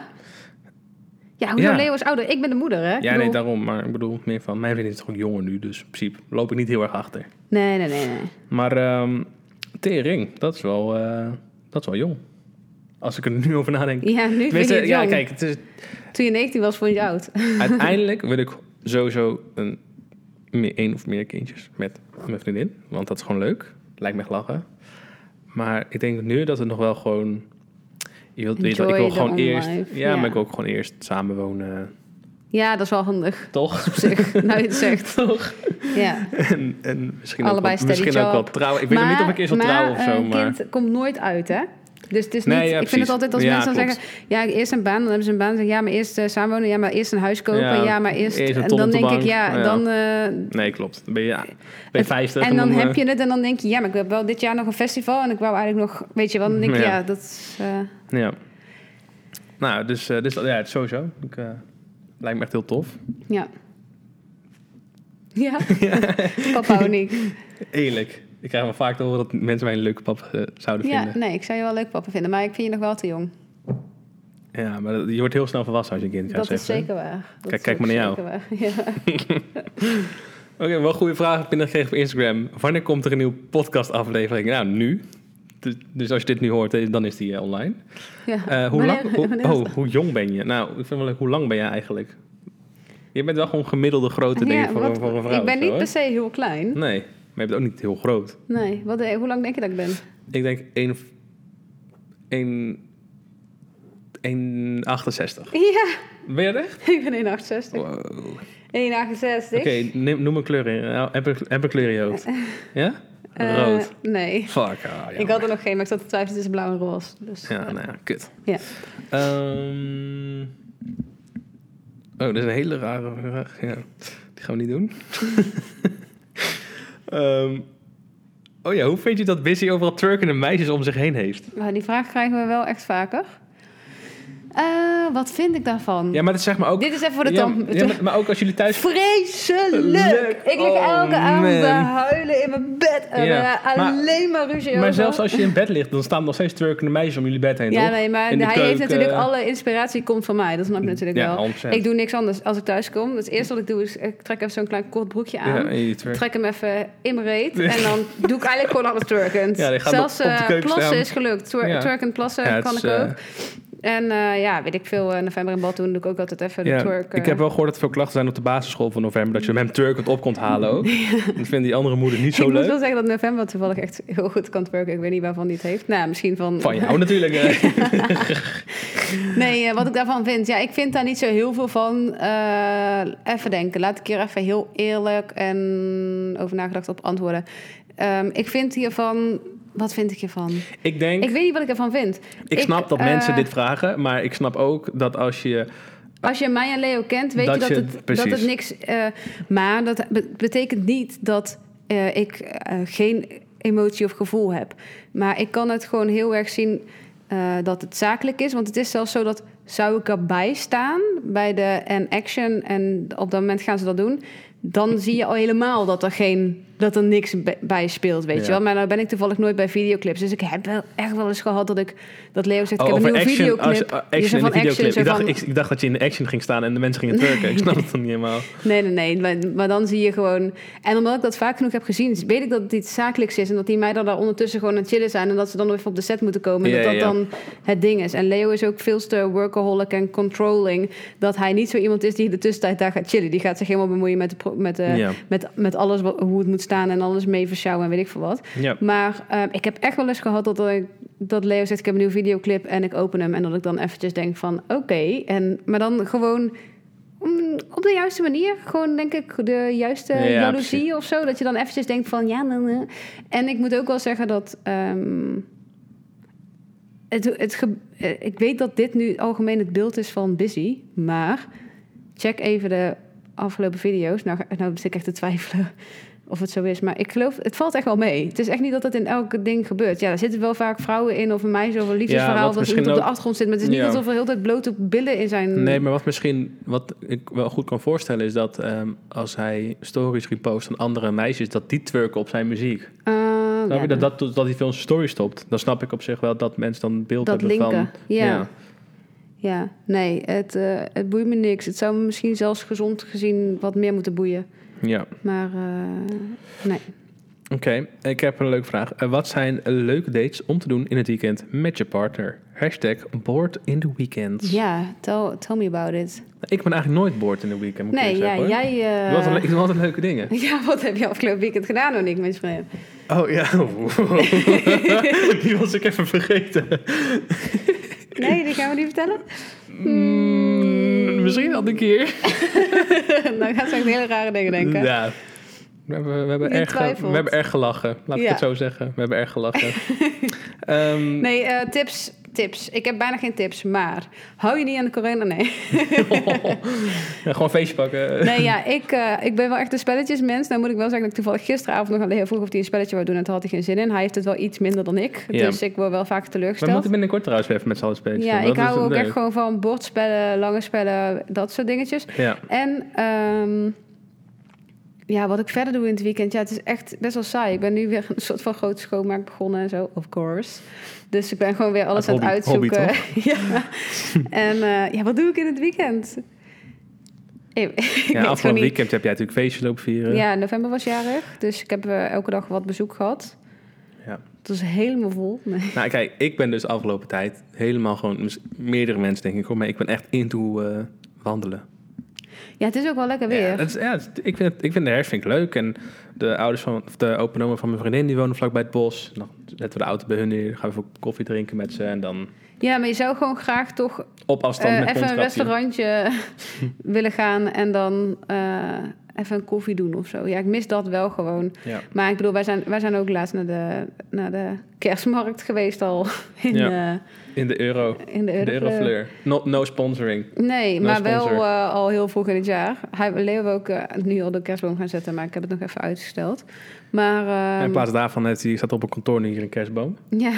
A: Ja, hoezo
B: Ja.
A: Leo is ouder? Ik ben de moeder, hè? Ik
B: Ja, nee,
A: bedoel-
B: daarom. Maar ik bedoel, meer van... Mijn vriendin is toch ook jonger nu, dus in principe loop ik niet heel erg achter.
A: nee, nee, nee, nee.
B: Maar ehm tering, dat is wel, eh, dat is wel jong. Als ik er nu over nadenk.
A: Ja, nu vind
B: Tenminste,
A: je het
B: ja,
A: jong.
B: kijk, het is,
A: Toen je 19 was, vond je het oud.
B: uiteindelijk wil ik sowieso een, meer, één of meer kindjes met mijn vriendin. Want dat is gewoon leuk. Lijkt me echt lachen. Maar ik denk nu dat het nog wel gewoon... Je wilt, je- ik
A: Enjoy
B: wil
A: the
B: gewoon
A: home
B: eerst...
A: life,
B: ja,
A: ja.
B: maar ik wil ook gewoon eerst samenwonen.
A: Ja, dat is wel handig.
B: Toch?
A: Op zich, nou je het zegt.
B: Toch?
A: Ja.
B: En, en misschien ook
A: Allebei
B: wel,
A: steady
B: misschien ook wel
A: job.
B: trouwen. Ik weet nog niet of ik eerst wil
A: maar
B: trouwen of zo,
A: een
B: maar...
A: kind komt nooit uit, hè? Dus het is niet...
B: Nee, ja,
A: ik vind
B: precies.
A: het altijd als
B: Ja,
A: mensen dan
B: klopt.
A: zeggen... Ja, eerst een baan, dan hebben ze een baan. Dan Zeg, ik, ja, maar eerst eh, samenwonen. Ja, maar eerst een huis kopen.
B: Ja,
A: Ja, maar eerst...
B: eerst een
A: en
B: ton
A: dan
B: op de
A: denk ik,
B: bank.
A: ja,
B: Ja.
A: dan... eh,
B: Nee, klopt. Dan ben je, ja, ben je
A: Het-
B: 50.
A: en dan,
B: eh,
A: heb je het en dan denk je... Ja, maar ik heb wel dit jaar nog een festival. En ik wou eigenlijk nog... Weet je wel, dan denk ik,
B: Ja.
A: ja, dat is... eh,
B: Ja. Nou, dus, eh, dus dat- ja, het is sowieso. Ik, eh, lijkt me echt heel tof.
A: ja. Ja, papa en ik.
B: Eerlijk. Ik krijg wel vaak te horen dat mensen mij een leuke pap eh, zouden
A: Ja,
B: vinden.
A: nee, ik zou je wel leuk papa vinden. Maar ik vind je nog wel te jong.
B: Ja, maar dat- je wordt heel snel verwassen als je een kind
A: dat
B: krijgt.
A: is
B: zegt, hè?
A: zeker waar. Dat
B: Kijk-
A: is
B: kijk
A: ook
B: maar naar
A: zeker waar. Ja.
B: Oké, wel goede vraag binnengekregen op Instagram. Wanneer komt er een nieuwe podcastaflevering? Nou, nu. Dus, dus als je dit nu hoort, eh, dan is die eh, online.
A: Ja.
B: Eh, hoe,
A: Wanneer-
B: lang, hoe,
A: wanneer is
B: oh, hoe jong ben je? Nou, ik vind wel leuk, hoe lang ben jij eigenlijk? Je bent wel gewoon gemiddelde grote
A: Ja,
B: dingen voor, een-
A: wat-
B: voor een vrouw.
A: Ik ben
B: of zo, Hm?
A: niet
B: hoor.
A: per se heel klein.
B: Nee, maar je bent ook niet heel groot.
A: Nee, wat, eh, hoe lang denk je dat ik ben?
B: Ik denk 1... 1... 168.
A: Ja,
B: Ben je er echt?
A: ik ben 1,68.
B: Oh, Wow. Oké,
A: 1,68.
B: neem- noem een kleur in. Nou, Heb een, heb een kleur in je hoofd. Ja?
A: Eh,
B: Rood.
A: nee,
B: Fuck. ah,
A: ik
B: jammer.
A: had er nog geen, maar ik zat te twijfelen tussen blauw en roze. Dus,
B: Ja, nou ja, kut.
A: Ja.
B: Ehm, Oh, dat is een hele rare vraag. Ja, die gaan we niet doen. Ehm, oh ja, hoe vind je dat Busy overal turkende meisjes om zich heen heeft?
A: Maar die vraag krijgen we wel echt vaker. Eh, wat vind ik daarvan?
B: Ja, maar dat is zeg maar ook...
A: Dit is even voor de
B: ja,
A: tand.
B: ja, maar, maar ook als jullie thuis... Leuk.
A: Vreselijk! Ik lig
B: Oh,
A: elke avond te
B: man.
A: huilen in mijn bed. En
B: Ja,
A: eh,
B: maar-
A: alleen maar ruzie
B: Maar
A: over.
B: zelfs als je in bed ligt, dan staan nog steeds turkende meisjes om jullie bed heen,
A: Ja,
B: toch?
A: nee, maar
B: In de
A: hij heeft
B: keuken.
A: natuurlijk alle inspiratie komt van mij. Dat snap je natuurlijk
B: Ja,
A: wel.
B: 100%.
A: Ik doe niks anders als ik thuis kom. Dus het eerste wat ik doe is, ik trek even zo'n klein kort broekje aan.
B: Ja, en je twerk.
A: Trek hem even in mijn reet. En dan doe ik eigenlijk gewoon alles twerkend.
B: Ja, die gaat
A: Zelfs
B: op de
A: eh,
B: keuken
A: plassen
B: staan.
A: is gelukt. Twer
B: Ja.
A: Twerkend plassen
B: Ja, het
A: kan
B: is,
A: ik ook.
B: eh,
A: En eh, ja, weet ik veel, eh, november in Bad doen doe ik ook altijd even de twerk. eh.
B: ik heb wel gehoord dat er veel klachten zijn op de basisschool van november. Dat je hem twerkend op komt halen ook. Dat vinden die andere moeders niet zo
A: ik moet
B: leuk.
A: wel zeggen dat november toevallig echt heel goed kan twerken. Ik weet niet waarvan die het heeft. Nou, misschien van...
B: Van jou natuurlijk. eh.
A: Nee, eh, wat ik daarvan vind. Ja, ik vind daar niet zo heel veel van. Eh, even denken. Laat ik hier even heel eerlijk en over nagedacht op antwoorden. Ehm, ik vind hiervan... Wat vind ik hiervan?
B: ik denk,
A: Ik
B: ik,
A: weet niet wat ik ervan vind.
B: snap dat mensen
A: eh,
B: dit vragen. Maar ik snap ook dat als je...
A: Als je mij en Leo kent, weet
B: Dat
A: je dat
B: je-
A: het, dat
B: precies.
A: het niks... eh, maar dat be- betekent niet dat eh, ik eh, geen emotie of gevoel heb. Maar ik kan het gewoon heel erg zien eh, dat het zakelijk is. Want het is zelfs zo dat zou ik erbij staan bij de en action... en op dat moment gaan ze dat doen... dan zie je al helemaal dat er, geen, dat er niks be- bij speelt, weet je
B: Ja.
A: wel. Maar nou ben ik toevallig nooit bij videoclips. Dus ik heb wel echt wel eens gehad dat ik... dat Leo zegt, ik
B: Oh,
A: heb een
B: over
A: nieuwe
B: action, als,
A: videoclip.
B: eh,
A: Je
B: action
A: zegt
B: in
A: van
B: de videoclip.
A: zo
B: Ik dacht,
A: van-
B: ik, ik dacht dat je in de action ging staan en de mensen gingen twerken. Ik snap het dan niet helemaal.
A: Nee, nee, nee. Maar, maar dan zie je gewoon... En omdat ik dat vaak genoeg heb gezien... weet ik dat het iets zakelijks is... en dat die meiden daar ondertussen gewoon aan het chillen zijn... en dat ze dan nog even op de set moeten komen... en
B: Ja,
A: dat dat
B: ja, ja.
A: dan het ding is. En Leo is ook veel te workaholic en controlling... dat hij niet zo iemand is die de tussentijd daar gaat chillen. Die gaat zich helemaal bemoeien met, de, pro- met, de,
B: Ja.
A: met, met alles... wat- hoe het moet staan en alles mee versjouwen en weet ik veel wat.
B: Ja.
A: Maar eh, ik heb echt wel eens gehad dat, ik- dat Leo zegt... ik heb een nieuwe videoclip en ik open hem... en dat ik dan eventjes denk van oké. en- maar dan gewoon mm, op de juiste manier. Gewoon denk ik de juiste
B: Ja, ja,
A: jaloezie of zo. Dat je dan eventjes denkt van ja... dan, eh. En ik moet ook wel zeggen dat... ehm, het, het ge- eh, ik weet dat dit nu algemeen het beeld is van busy, maar check even de afgelopen video's. Nou, ga- nou zit ik echt te twijfelen of het zo is, maar ik geloof, het valt echt wel mee. Het is echt niet dat dat in elk ding gebeurt. Ja, er zitten wel vaak vrouwen in of een meisje of een
B: Ja,
A: liefdesverhaal
B: wat
A: dat
B: misschien
A: iemand op de
B: ook-
A: achtergrond zit, maar het is niet
B: Ja.
A: alsof er heel de tijd blote billen in zijn.
B: Nee, maar wat misschien wat ik wel goed kan voorstellen is dat ehm, als hij stories repost van andere meisjes, dat die twerken op zijn muziek.
A: Eh,
B: Snap
A: ja,
B: je? Dat, dat, dat hij veel in zijn story stopt. Dan snap ik op zich wel dat mensen dan een beeld
A: Dat
B: hebben
A: linken,
B: van.
A: ja. ja, nee, het, eh, het boeit me niks. Het zou me misschien zelfs gezond gezien wat meer moeten boeien,
B: ja.
A: maar eh, nee.
B: Oké, ik heb een leuke vraag. Eh, wat zijn leuke dates om te doen in het weekend met je partner? Hashtag bored in the weekend.
A: Ja, tell, tell me about it.
B: Ik ben eigenlijk nooit bored in the weekend, moet ik
A: Nee,
B: eerlijk
A: ja,
B: zeggen. hoor.
A: jij... eh,
B: Ik doe altijd- ik doe altijd leuke dingen.
A: ja, wat heb je afgelopen weekend gedaan, Monique, met je vriendin?
B: Oh ja, die was ik even vergeten.
A: Nee, die gaan we niet vertellen. Hmm.
B: Mm, misschien al een keer.
A: Dan gaat ze echt hele rare dingen denken.
B: Ja. We hebben, we, hebben
A: Je
B: erg, ge-
A: twijfelt.
B: we hebben erg gelachen, laat
A: Ja.
B: ik het zo zeggen. We hebben erg gelachen. Ehm,
A: Nee, eh, tips, tips. Ik heb bijna geen tips, maar... Hou je niet aan de corona? Nee.
B: ja, gewoon feestje pakken.
A: Nee, ja, ik, eh, ik ben wel echt een spelletjesmens. Nou moet ik wel zeggen dat ik toevallig gisteravond nog aan Leo vroeg of hij een spelletje wou doen. En toen had hij geen zin in. Hij heeft het wel iets minder dan ik.
B: Ja.
A: Dus ik word wel vaak
B: We
A: teleurgesteld.
B: moeten binnenkort trouwens weer even met z'n allen spelen.
A: Ja,
B: Dat
A: ik
B: is
A: hou ook
B: leuk.
A: echt gewoon van bordspellen, lange spellen, dat soort dingetjes.
B: Ja.
A: En ehm, ja, wat ik verder doe in het weekend. Ja, het is echt best wel saai. Ik ben nu weer een soort van grote schoonmaak begonnen en zo, of course. Dus ik ben gewoon weer alles
B: Het
A: aan het
B: hobby-
A: uitzoeken. ja. En eh, ja, wat doe ik in het weekend? Ik, ik weet
B: Ja,
A: het gewoon
B: afgelopen
A: niet.
B: weekend heb jij natuurlijk feestjes lopen vieren.
A: Ja, november was jarig. Dus ik heb eh, elke dag wat bezoek gehad.
B: Ja.
A: Het was helemaal vol. Nee.
B: Nou, kijk, ik ben dus de afgelopen tijd helemaal gewoon... mis- Meerdere mensen denk ik hoor, maar ik ben echt into eh, wandelen.
A: Ja, het is ook wel lekker weer.
B: Ja, dat is, ja, het is- ik, vind het- ik vind de herfst vind ik leuk. En de ouders van of de open oma van mijn vriendin, die wonen vlakbij het bos. Dan zetten we de auto bij hun neer, dan gaan we even koffie drinken met ze. En dan
A: ja, maar je zou gewoon graag toch
B: op afstand
A: Eh,
B: met
A: even een
B: mondkapje.
A: restaurantje willen gaan en dan eh, even een koffie doen of zo. Ja, ik mis dat wel gewoon.
B: Ja.
A: Maar ik bedoel, wij zijn, wij zijn ook laatst naar de, naar de kerstmarkt geweest al in,
B: Ja. In de euro.
A: eh, in de,
B: De
A: Eurofleur.
B: eurofleur. No, no sponsoring.
A: Nee,
B: No
A: maar wel
B: sponsor.
A: eh, al heel vroeg in het jaar. Hij Leo wil ook eh, nu al de kerstboom gaan zetten, maar ik heb het nog even uitgesteld. Maar
B: En in
A: ehm,
B: plaats daarvan heeft hij, staat op een kantoor nu hier een kerstboom.
A: ja,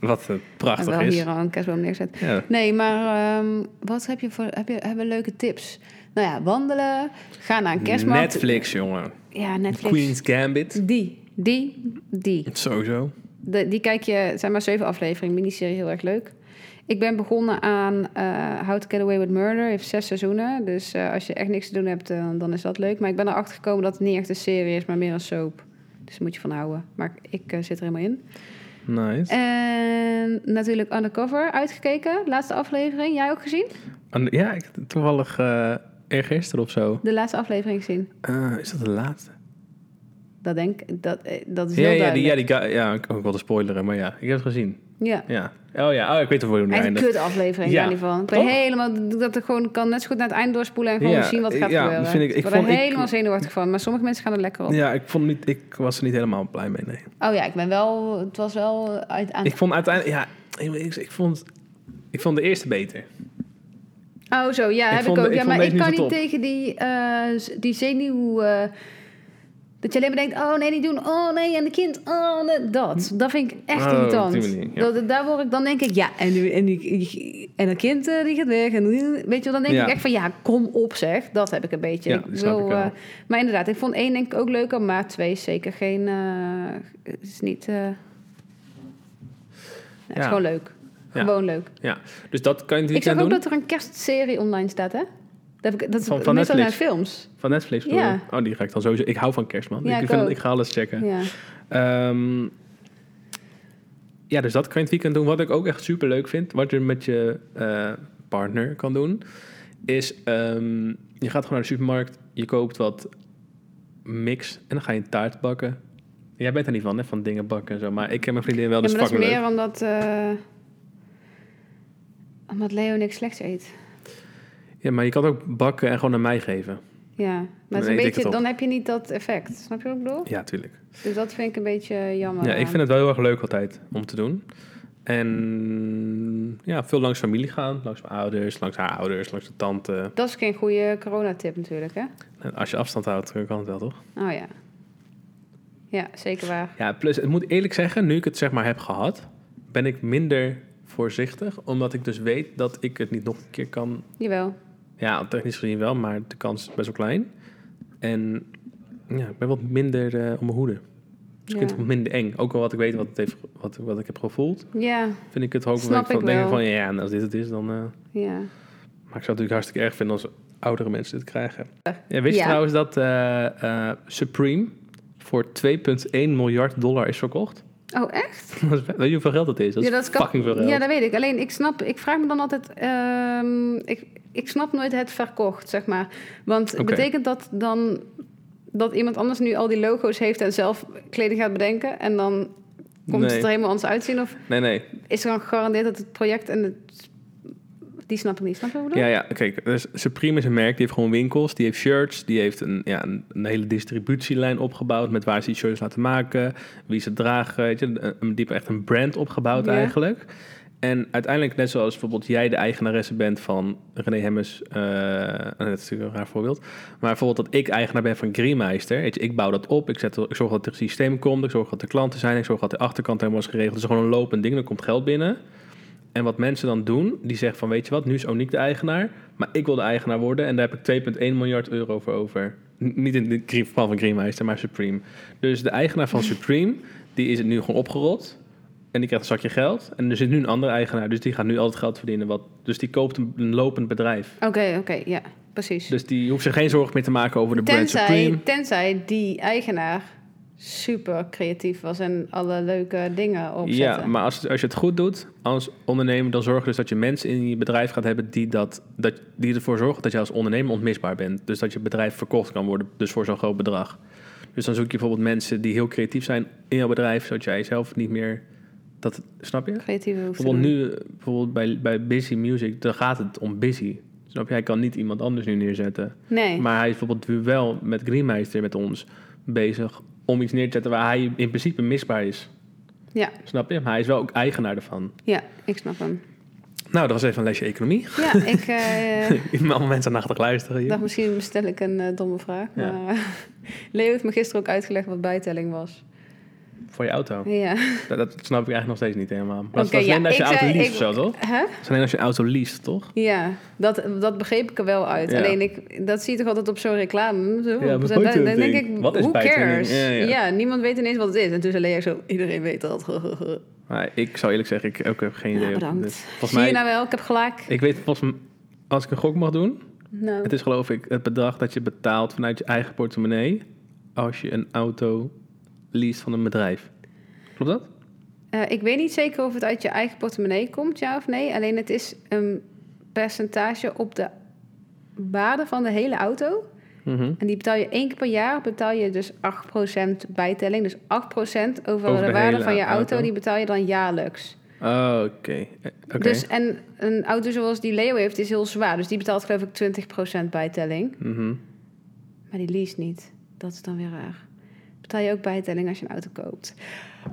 B: Wat eh,
A: en
B: prachtig
A: wel
B: is.
A: hier al een kerstboom neerzet.
B: Ja.
A: Nee, maar ehm, wat heb je voor heb je, hebben leuke tips? Nou ja, wandelen, ga naar een kerstmarkt.
B: Netflix, jongen.
A: Ja, Netflix.
B: Queen's Gambit.
A: Die, die, die.
B: Sowieso.
A: De, die kijk je, het zijn maar zeven afleveringen, miniserie, heel erg leuk. Ik ben begonnen aan eh How to Get Away with Murder, heeft zes seizoenen. Dus eh, als je echt niks te doen hebt, eh, dan is dat leuk. Maar ik ben erachter gekomen dat het niet echt een serie is, maar meer een soap. Dus daar moet je van houden. Maar ik eh, zit er helemaal in.
B: Nice.
A: En natuurlijk Undercover uitgekeken, laatste aflevering. Jij ook gezien?
B: En, ja, ik had toevallig eh eergisteren of zo.
A: De laatste aflevering gezien.
B: Eh, is dat de laatste?
A: Dat denk ik, dat, eh, dat is heel
B: Ja, ja, die,
A: duidelijk.
B: ja, die guy- ja, ik kan ook wel te spoileren, maar ja, ik heb het gezien.
A: ja.
B: Ja. Oh ja, oh, ik weet wel hoe je nu
A: Echt een
B: eindigt.
A: kut aflevering
B: Ja,
A: in ieder geval. Ik
B: toch?
A: ben helemaal, dat ik gewoon kan net zo goed naar het eind doorspoelen en gewoon
B: Ja,
A: zien wat gaat
B: ja, dat
A: gebeuren.
B: vind ik- ik
A: ben er
B: vond- ik-
A: helemaal zenuwachtig van, maar sommige mensen gaan er lekker op.
B: Ja, ik, vond niet, ik was er niet helemaal blij mee, nee.
A: Oh ja, ik ben wel, het was wel eh, uit aan.
B: Ik vond uiteindelijk, ja, ik, ik, ik vond, ik vond de eerste beter.
A: Oh zo, ja,
B: Ik
A: heb
B: vond-
A: ik ook.
B: ik
A: ja,
B: vond
A: maar
B: deze
A: ik
B: niet
A: kan
B: zo
A: niet
B: top.
A: tegen die, eh, z- die zenuw... eh, dat je alleen maar denkt, oh nee, niet doen, oh nee, en de kind, oh nee, dat. Dat vind ik echt
B: Oh, op die
A: irritant.
B: manier, ja.
A: dat, daar word ik, dan denk ik, ja, en, nu, en, die, en dat kind eh, die gaat weg. En, weet je, wel, dan denk
B: Ja.
A: ik echt van, ja, kom op zeg. Dat heb ik een beetje.
B: Ja,
A: ik
B: die snap ik wel.
A: eh, maar inderdaad, ik vond één denk ik ook leuker, maar twee is zeker geen... eh, is niet... eh, nou, Het
B: Ja.
A: is gewoon leuk.
B: Ja.
A: Gewoon leuk.
B: Ja, dus dat kan je
A: Ik
B: natuurlijk
A: zag
B: aan
A: ook
B: doen.
A: dat er een kerstserie online staat, hè? Dat, heb ik, dat is
B: Van- van
A: meestal
B: Netflix.
A: zijn films.
B: Van Netflix bedoel
A: Ja.
B: je? Oh, die ga ik dan sowieso... Ik hou van kerstman.
A: Ja,
B: ik,
A: ik
B: vind-
A: ook.
B: ik ga alles checken.
A: Ja.
B: Ehm, ja, dus dat kan je het weekend doen. Wat ik ook echt super leuk vind, wat je met je eh, partner kan doen, is ehm, je gaat gewoon naar de supermarkt, je koopt wat mix en dan ga je een taart bakken. Jij bent er niet van, hè, van dingen bakken en zo. Maar ik en mijn vriendin wel,
A: Ja,
B: dus
A: maar dat is
B: fucking
A: meer
B: leuk.
A: omdat... eh, omdat Leo niks slechts eet.
B: Ja, maar je kan het ook bakken en gewoon aan mij geven.
A: Ja, maar
B: Dan
A: het is
B: eet
A: een
B: ik
A: beetje,
B: het op.
A: dan heb je niet dat effect. Snap je wat ik bedoel?
B: Ja, tuurlijk.
A: Dus dat vind ik een beetje jammer.
B: Ja, ik
A: aan.
B: vind het wel heel erg leuk altijd om te doen. En ja, veel langs familie gaan. Langs mijn ouders, langs haar ouders, langs de tante.
A: Dat is geen goede coronatip natuurlijk, hè?
B: En als je afstand houdt, kan het wel, toch?
A: Oh ja. Ja, zeker waar.
B: Ja, plus, ik moet eerlijk zeggen, nu ik het zeg maar heb gehad, ben ik minder voorzichtig. Omdat ik dus weet dat ik het niet nog een keer kan.
A: Jawel.
B: Ja, technisch gezien wel, maar de kans is best wel klein. En ja, ik ben wat minder eh om mijn hoede. Dus ik vind
A: Ja.
B: het wat minder eng. Ook al wat ik weet, wat, het heeft, wat, wat ik heb gevoeld,
A: Ja,
B: vind ik het ook
A: Snap
B: van
A: ik
B: denken
A: wel.
B: van ja, en als dit het is, dan. eh,
A: ja.
B: Maar ik zou het natuurlijk hartstikke erg vinden als oudere mensen dit krijgen. Ja, wist
A: Ja.
B: je trouwens dat eh, eh, Supreme voor 2,1 miljard dollar is verkocht?
A: Oh, echt?
B: Dat is- Weet je hoeveel geld dat is? Dat
A: Ja,
B: is
A: dat is kap-
B: fucking veel geld.
A: Ja, dat weet ik. Alleen ik snap, ik vraag me dan altijd, ehm, ik, ik snap nooit het verkocht, zeg maar. Want
B: Oké.
A: betekent dat dan dat iemand anders nu al die logo's heeft en zelf kleding gaat bedenken en dan komt
B: Nee.
A: het er helemaal anders uitzien? Of
B: Nee, nee.
A: is er dan gegarandeerd dat het project en het. Die snap ik niet. Snap je wat ik bedoel?
B: Ja, ja. Kijk, dus Supreme is een merk. Die heeft gewoon winkels. Die heeft shirts. Die heeft een, ja, een, een hele distributielijn opgebouwd. Met waar ze die shirts laten maken. Wie ze dragen. Weet je, een, een- die hebben echt een brand opgebouwd
A: Ja.
B: eigenlijk. En uiteindelijk, net zoals bijvoorbeeld jij de eigenaresse bent van René Hemmers. eh, dat is natuurlijk een raar voorbeeld. Maar bijvoorbeeld dat ik eigenaar ben van Griemeister. Weet je, ik bouw dat op. Ik, zet, ik zorg dat het systeem komt. Ik zorg dat er klanten zijn. Ik zorg dat de achterkant helemaal is geregeld. Het is gewoon een lopend ding. Er komt geld binnen. En wat mensen dan doen, die zeggen van weet je wat, nu is Oniek de eigenaar, maar ik wil de eigenaar worden en daar heb ik 2,1 miljard euro voor over. N- niet in het grie- geval van Greenmeister, maar Supreme. Dus de eigenaar van Supreme, die is het nu gewoon opgerot en die krijgt een zakje geld. En er zit nu een andere eigenaar, dus die gaat nu al het geld verdienen. Wat, dus die koopt een, een lopend bedrijf.
A: Oké, oké, ja, precies.
B: Dus die hoeft zich geen zorgen meer te maken over de brand Supreme.
A: tenzij, tenzij die eigenaar super creatief was en alle leuke dingen opzette.
B: Ja, maar als, als je het goed doet als ondernemer, dan zorg dus dat je mensen in je bedrijf gaat hebben die, dat, dat, die ervoor zorgen dat je als ondernemer onmisbaar bent. Dus dat je bedrijf verkocht kan worden, dus voor zo'n groot bedrag. Dus dan zoek je bijvoorbeeld mensen die heel creatief zijn in jouw bedrijf, zodat jij zelf niet meer dat, snap je?
A: Creatieve hoefde.
B: Bijvoorbeeld nu, eh, bijvoorbeeld bij, bij Busy Music, dan gaat het om Busy. Snap je? Hij kan niet iemand anders nu neerzetten.
A: Nee.
B: Maar hij is bijvoorbeeld nu wel met Greenmeister, met ons, bezig om iets neer te zetten waar hij in principe misbaar is.
A: Ja,
B: Snap je? Maar hij is wel ook eigenaar ervan.
A: ja, ik snap hem.
B: Nou, dat was even een lesje economie.
A: Ja, ik eh,
B: Allemaal mensen aandachtig luisteren hier.
A: dacht misschien bestel ik een eh, domme vraag.
B: Ja.
A: Maar Leo heeft me gisteren ook uitgelegd wat bijtelling was.
B: Voor je auto.
A: Ja.
B: Dat, dat snap ik eigenlijk nog steeds niet helemaal. Maar dat
A: Oké,
B: is alleen
A: ja,
B: als je
A: ik
B: auto
A: zei-
B: leest
A: ik-
B: of zo, toch?
A: Hè?
B: Dat is alleen als je auto leest, toch?
A: Ja, dat, dat begreep ik er wel uit.
B: Ja.
A: Alleen ik, dat zie je toch altijd op zo'n reclame. Zo,
B: Ja, wat
A: dan,
B: moet
A: dan
B: dat
A: denk
B: ding?
A: ik,
B: Wat is
A: who
B: bijtelling?
A: cares?
B: Ja,
A: Ja,
B: ja.
A: niemand weet ineens wat het is. En toen zei Leo zo, iedereen weet dat.
B: Maar ik zou eerlijk zeggen, ik ook heb geen idee.
A: Nou,
B: wat het
A: bedankt.
B: is. volgens
A: zie je
B: mij,
A: nou wel, ik heb gelijk.
B: ik weet volgens mij, als ik een gok mag doen,
A: Nou,
B: het is geloof ik het bedrag dat je betaalt vanuit je eigen portemonnee als je een auto leest van een bedrijf. Klopt dat?
A: Eh, ik weet niet zeker of het uit je eigen portemonnee komt, ja of nee. Alleen het is een percentage op de waarde van de hele auto.
B: Mhm.
A: En die betaal je één keer per jaar, betaal je dus 8% bijtelling. Dus 8% over,
B: Over
A: de,
B: de
A: waarde
B: hele
A: van je auto,
B: auto.
A: die betaal je dan jaarlijks.
B: Oh, oké. Eh, oké.
A: Dus, en een auto zoals die Leo heeft, is heel zwaar. Dus die betaalt geloof ik 20% bijtelling.
B: Mhm.
A: Maar die lease niet. Dat is dan weer raar. Betaal je ook bijtelling als je een auto koopt.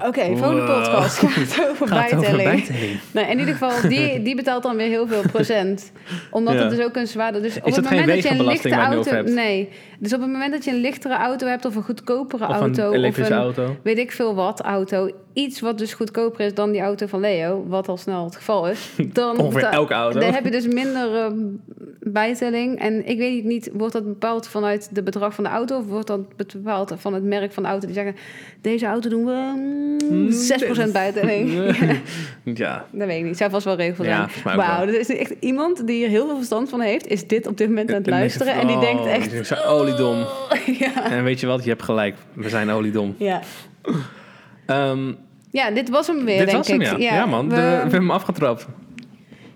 A: Oké, volgende
B: Wow.
A: podcast gaat over
B: Gaat het over
A: bijtelling.
B: bijtelling?
A: Nou, in ieder geval, die, die betaalt dan weer heel veel procent. Omdat
B: Ja.
A: het dus ook een zwaarder... Dus op
B: dat
A: het
B: geen
A: moment dat je een
B: wegenbelasting
A: lichte
B: waar je het
A: auto...
B: over
A: Nee. Dus op het moment dat je een lichtere auto hebt... of een goedkopere
B: Of
A: auto...
B: een elektrische
A: of een
B: auto.
A: weet ik veel wat auto... iets wat dus goedkoper is dan die auto van Leo... wat al snel het geval is... dan
B: Ongeveer
A: betaal-
B: elke auto.
A: dan heb je dus minder eh, bijtelling. En ik weet niet, wordt dat bepaald vanuit de bedrag van de auto... of wordt dat bepaald van het merk van de auto? Die zeggen, deze auto doen we
B: Mm,
A: mm, 6% bijtelling.
B: ja.
A: Dat weet ik niet. Zou vast wel regels
B: Ja, volgens mij
A: zijn.
B: ook
A: Wauw,
B: wel.
A: er is echt iemand die hier heel veel verstand van heeft, is dit op dit moment aan het
B: En dan is
A: luisteren. En die
B: oh,
A: denkt echt.
B: die is zo oliedom.
A: ja.
B: En weet je wat? Je hebt gelijk. We zijn oliedom.
A: Ja.
B: Ehm
A: ja, dit was hem weer,
B: dit
A: denk
B: was hem,
A: ik.
B: ja. Ja, man. de-
A: We,
B: we hebben hem afgetrapt.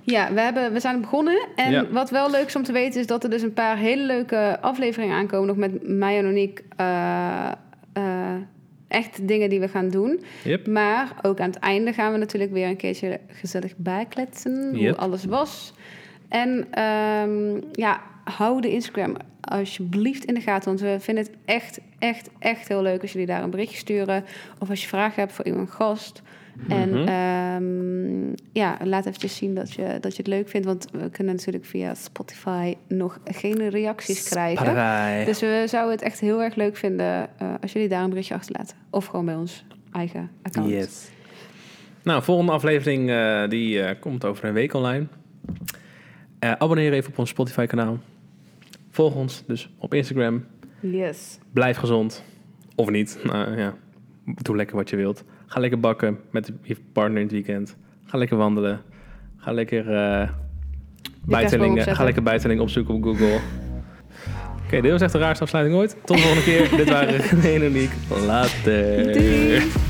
A: ja, we, hebben, we zijn begonnen. En
B: Ja.
A: wat wel leuk is om te weten, is dat er dus een paar hele leuke afleveringen aankomen. Nog met mij en Monique. eh, eh, echt dingen die we gaan doen.
B: Yep.
A: Maar ook aan het einde gaan we natuurlijk weer een keertje gezellig bijkletsen.
B: Yep.
A: Hoe alles was. En ehm, ja, hou de Instagram alsjeblieft in de gaten. Want we vinden het echt, echt, echt heel leuk als jullie daar een berichtje sturen. Of als je vragen hebt voor iemand gast. En
B: Mhm.
A: ehm, ja, laat eventjes zien dat je, dat je het leuk vindt. Want we kunnen natuurlijk via Spotify nog geen reacties krijgen.
B: Parai.
A: Dus we zouden het echt heel erg leuk vinden eh, als jullie daar een berichtje achterlaten. Of gewoon bij ons eigen account.
B: Yes. Nou, volgende aflevering eh, die eh, komt over een week online. Eh, abonneer even op ons Spotify-kanaal. Volg ons dus op Instagram.
A: Yes.
B: Blijf gezond. Of niet. Nou, ja. Doe lekker wat je wilt. Ga lekker bakken met je partner in het weekend. Ga lekker wandelen. Ga lekker, eh bijtellingen,
A: opzetten.
B: ga lekker bijtelling opzoeken op Google. Oké, dit was echt de raarste afsluiting ooit. Tot de volgende keer. dit waren René en Uniek. Later.
A: Doei.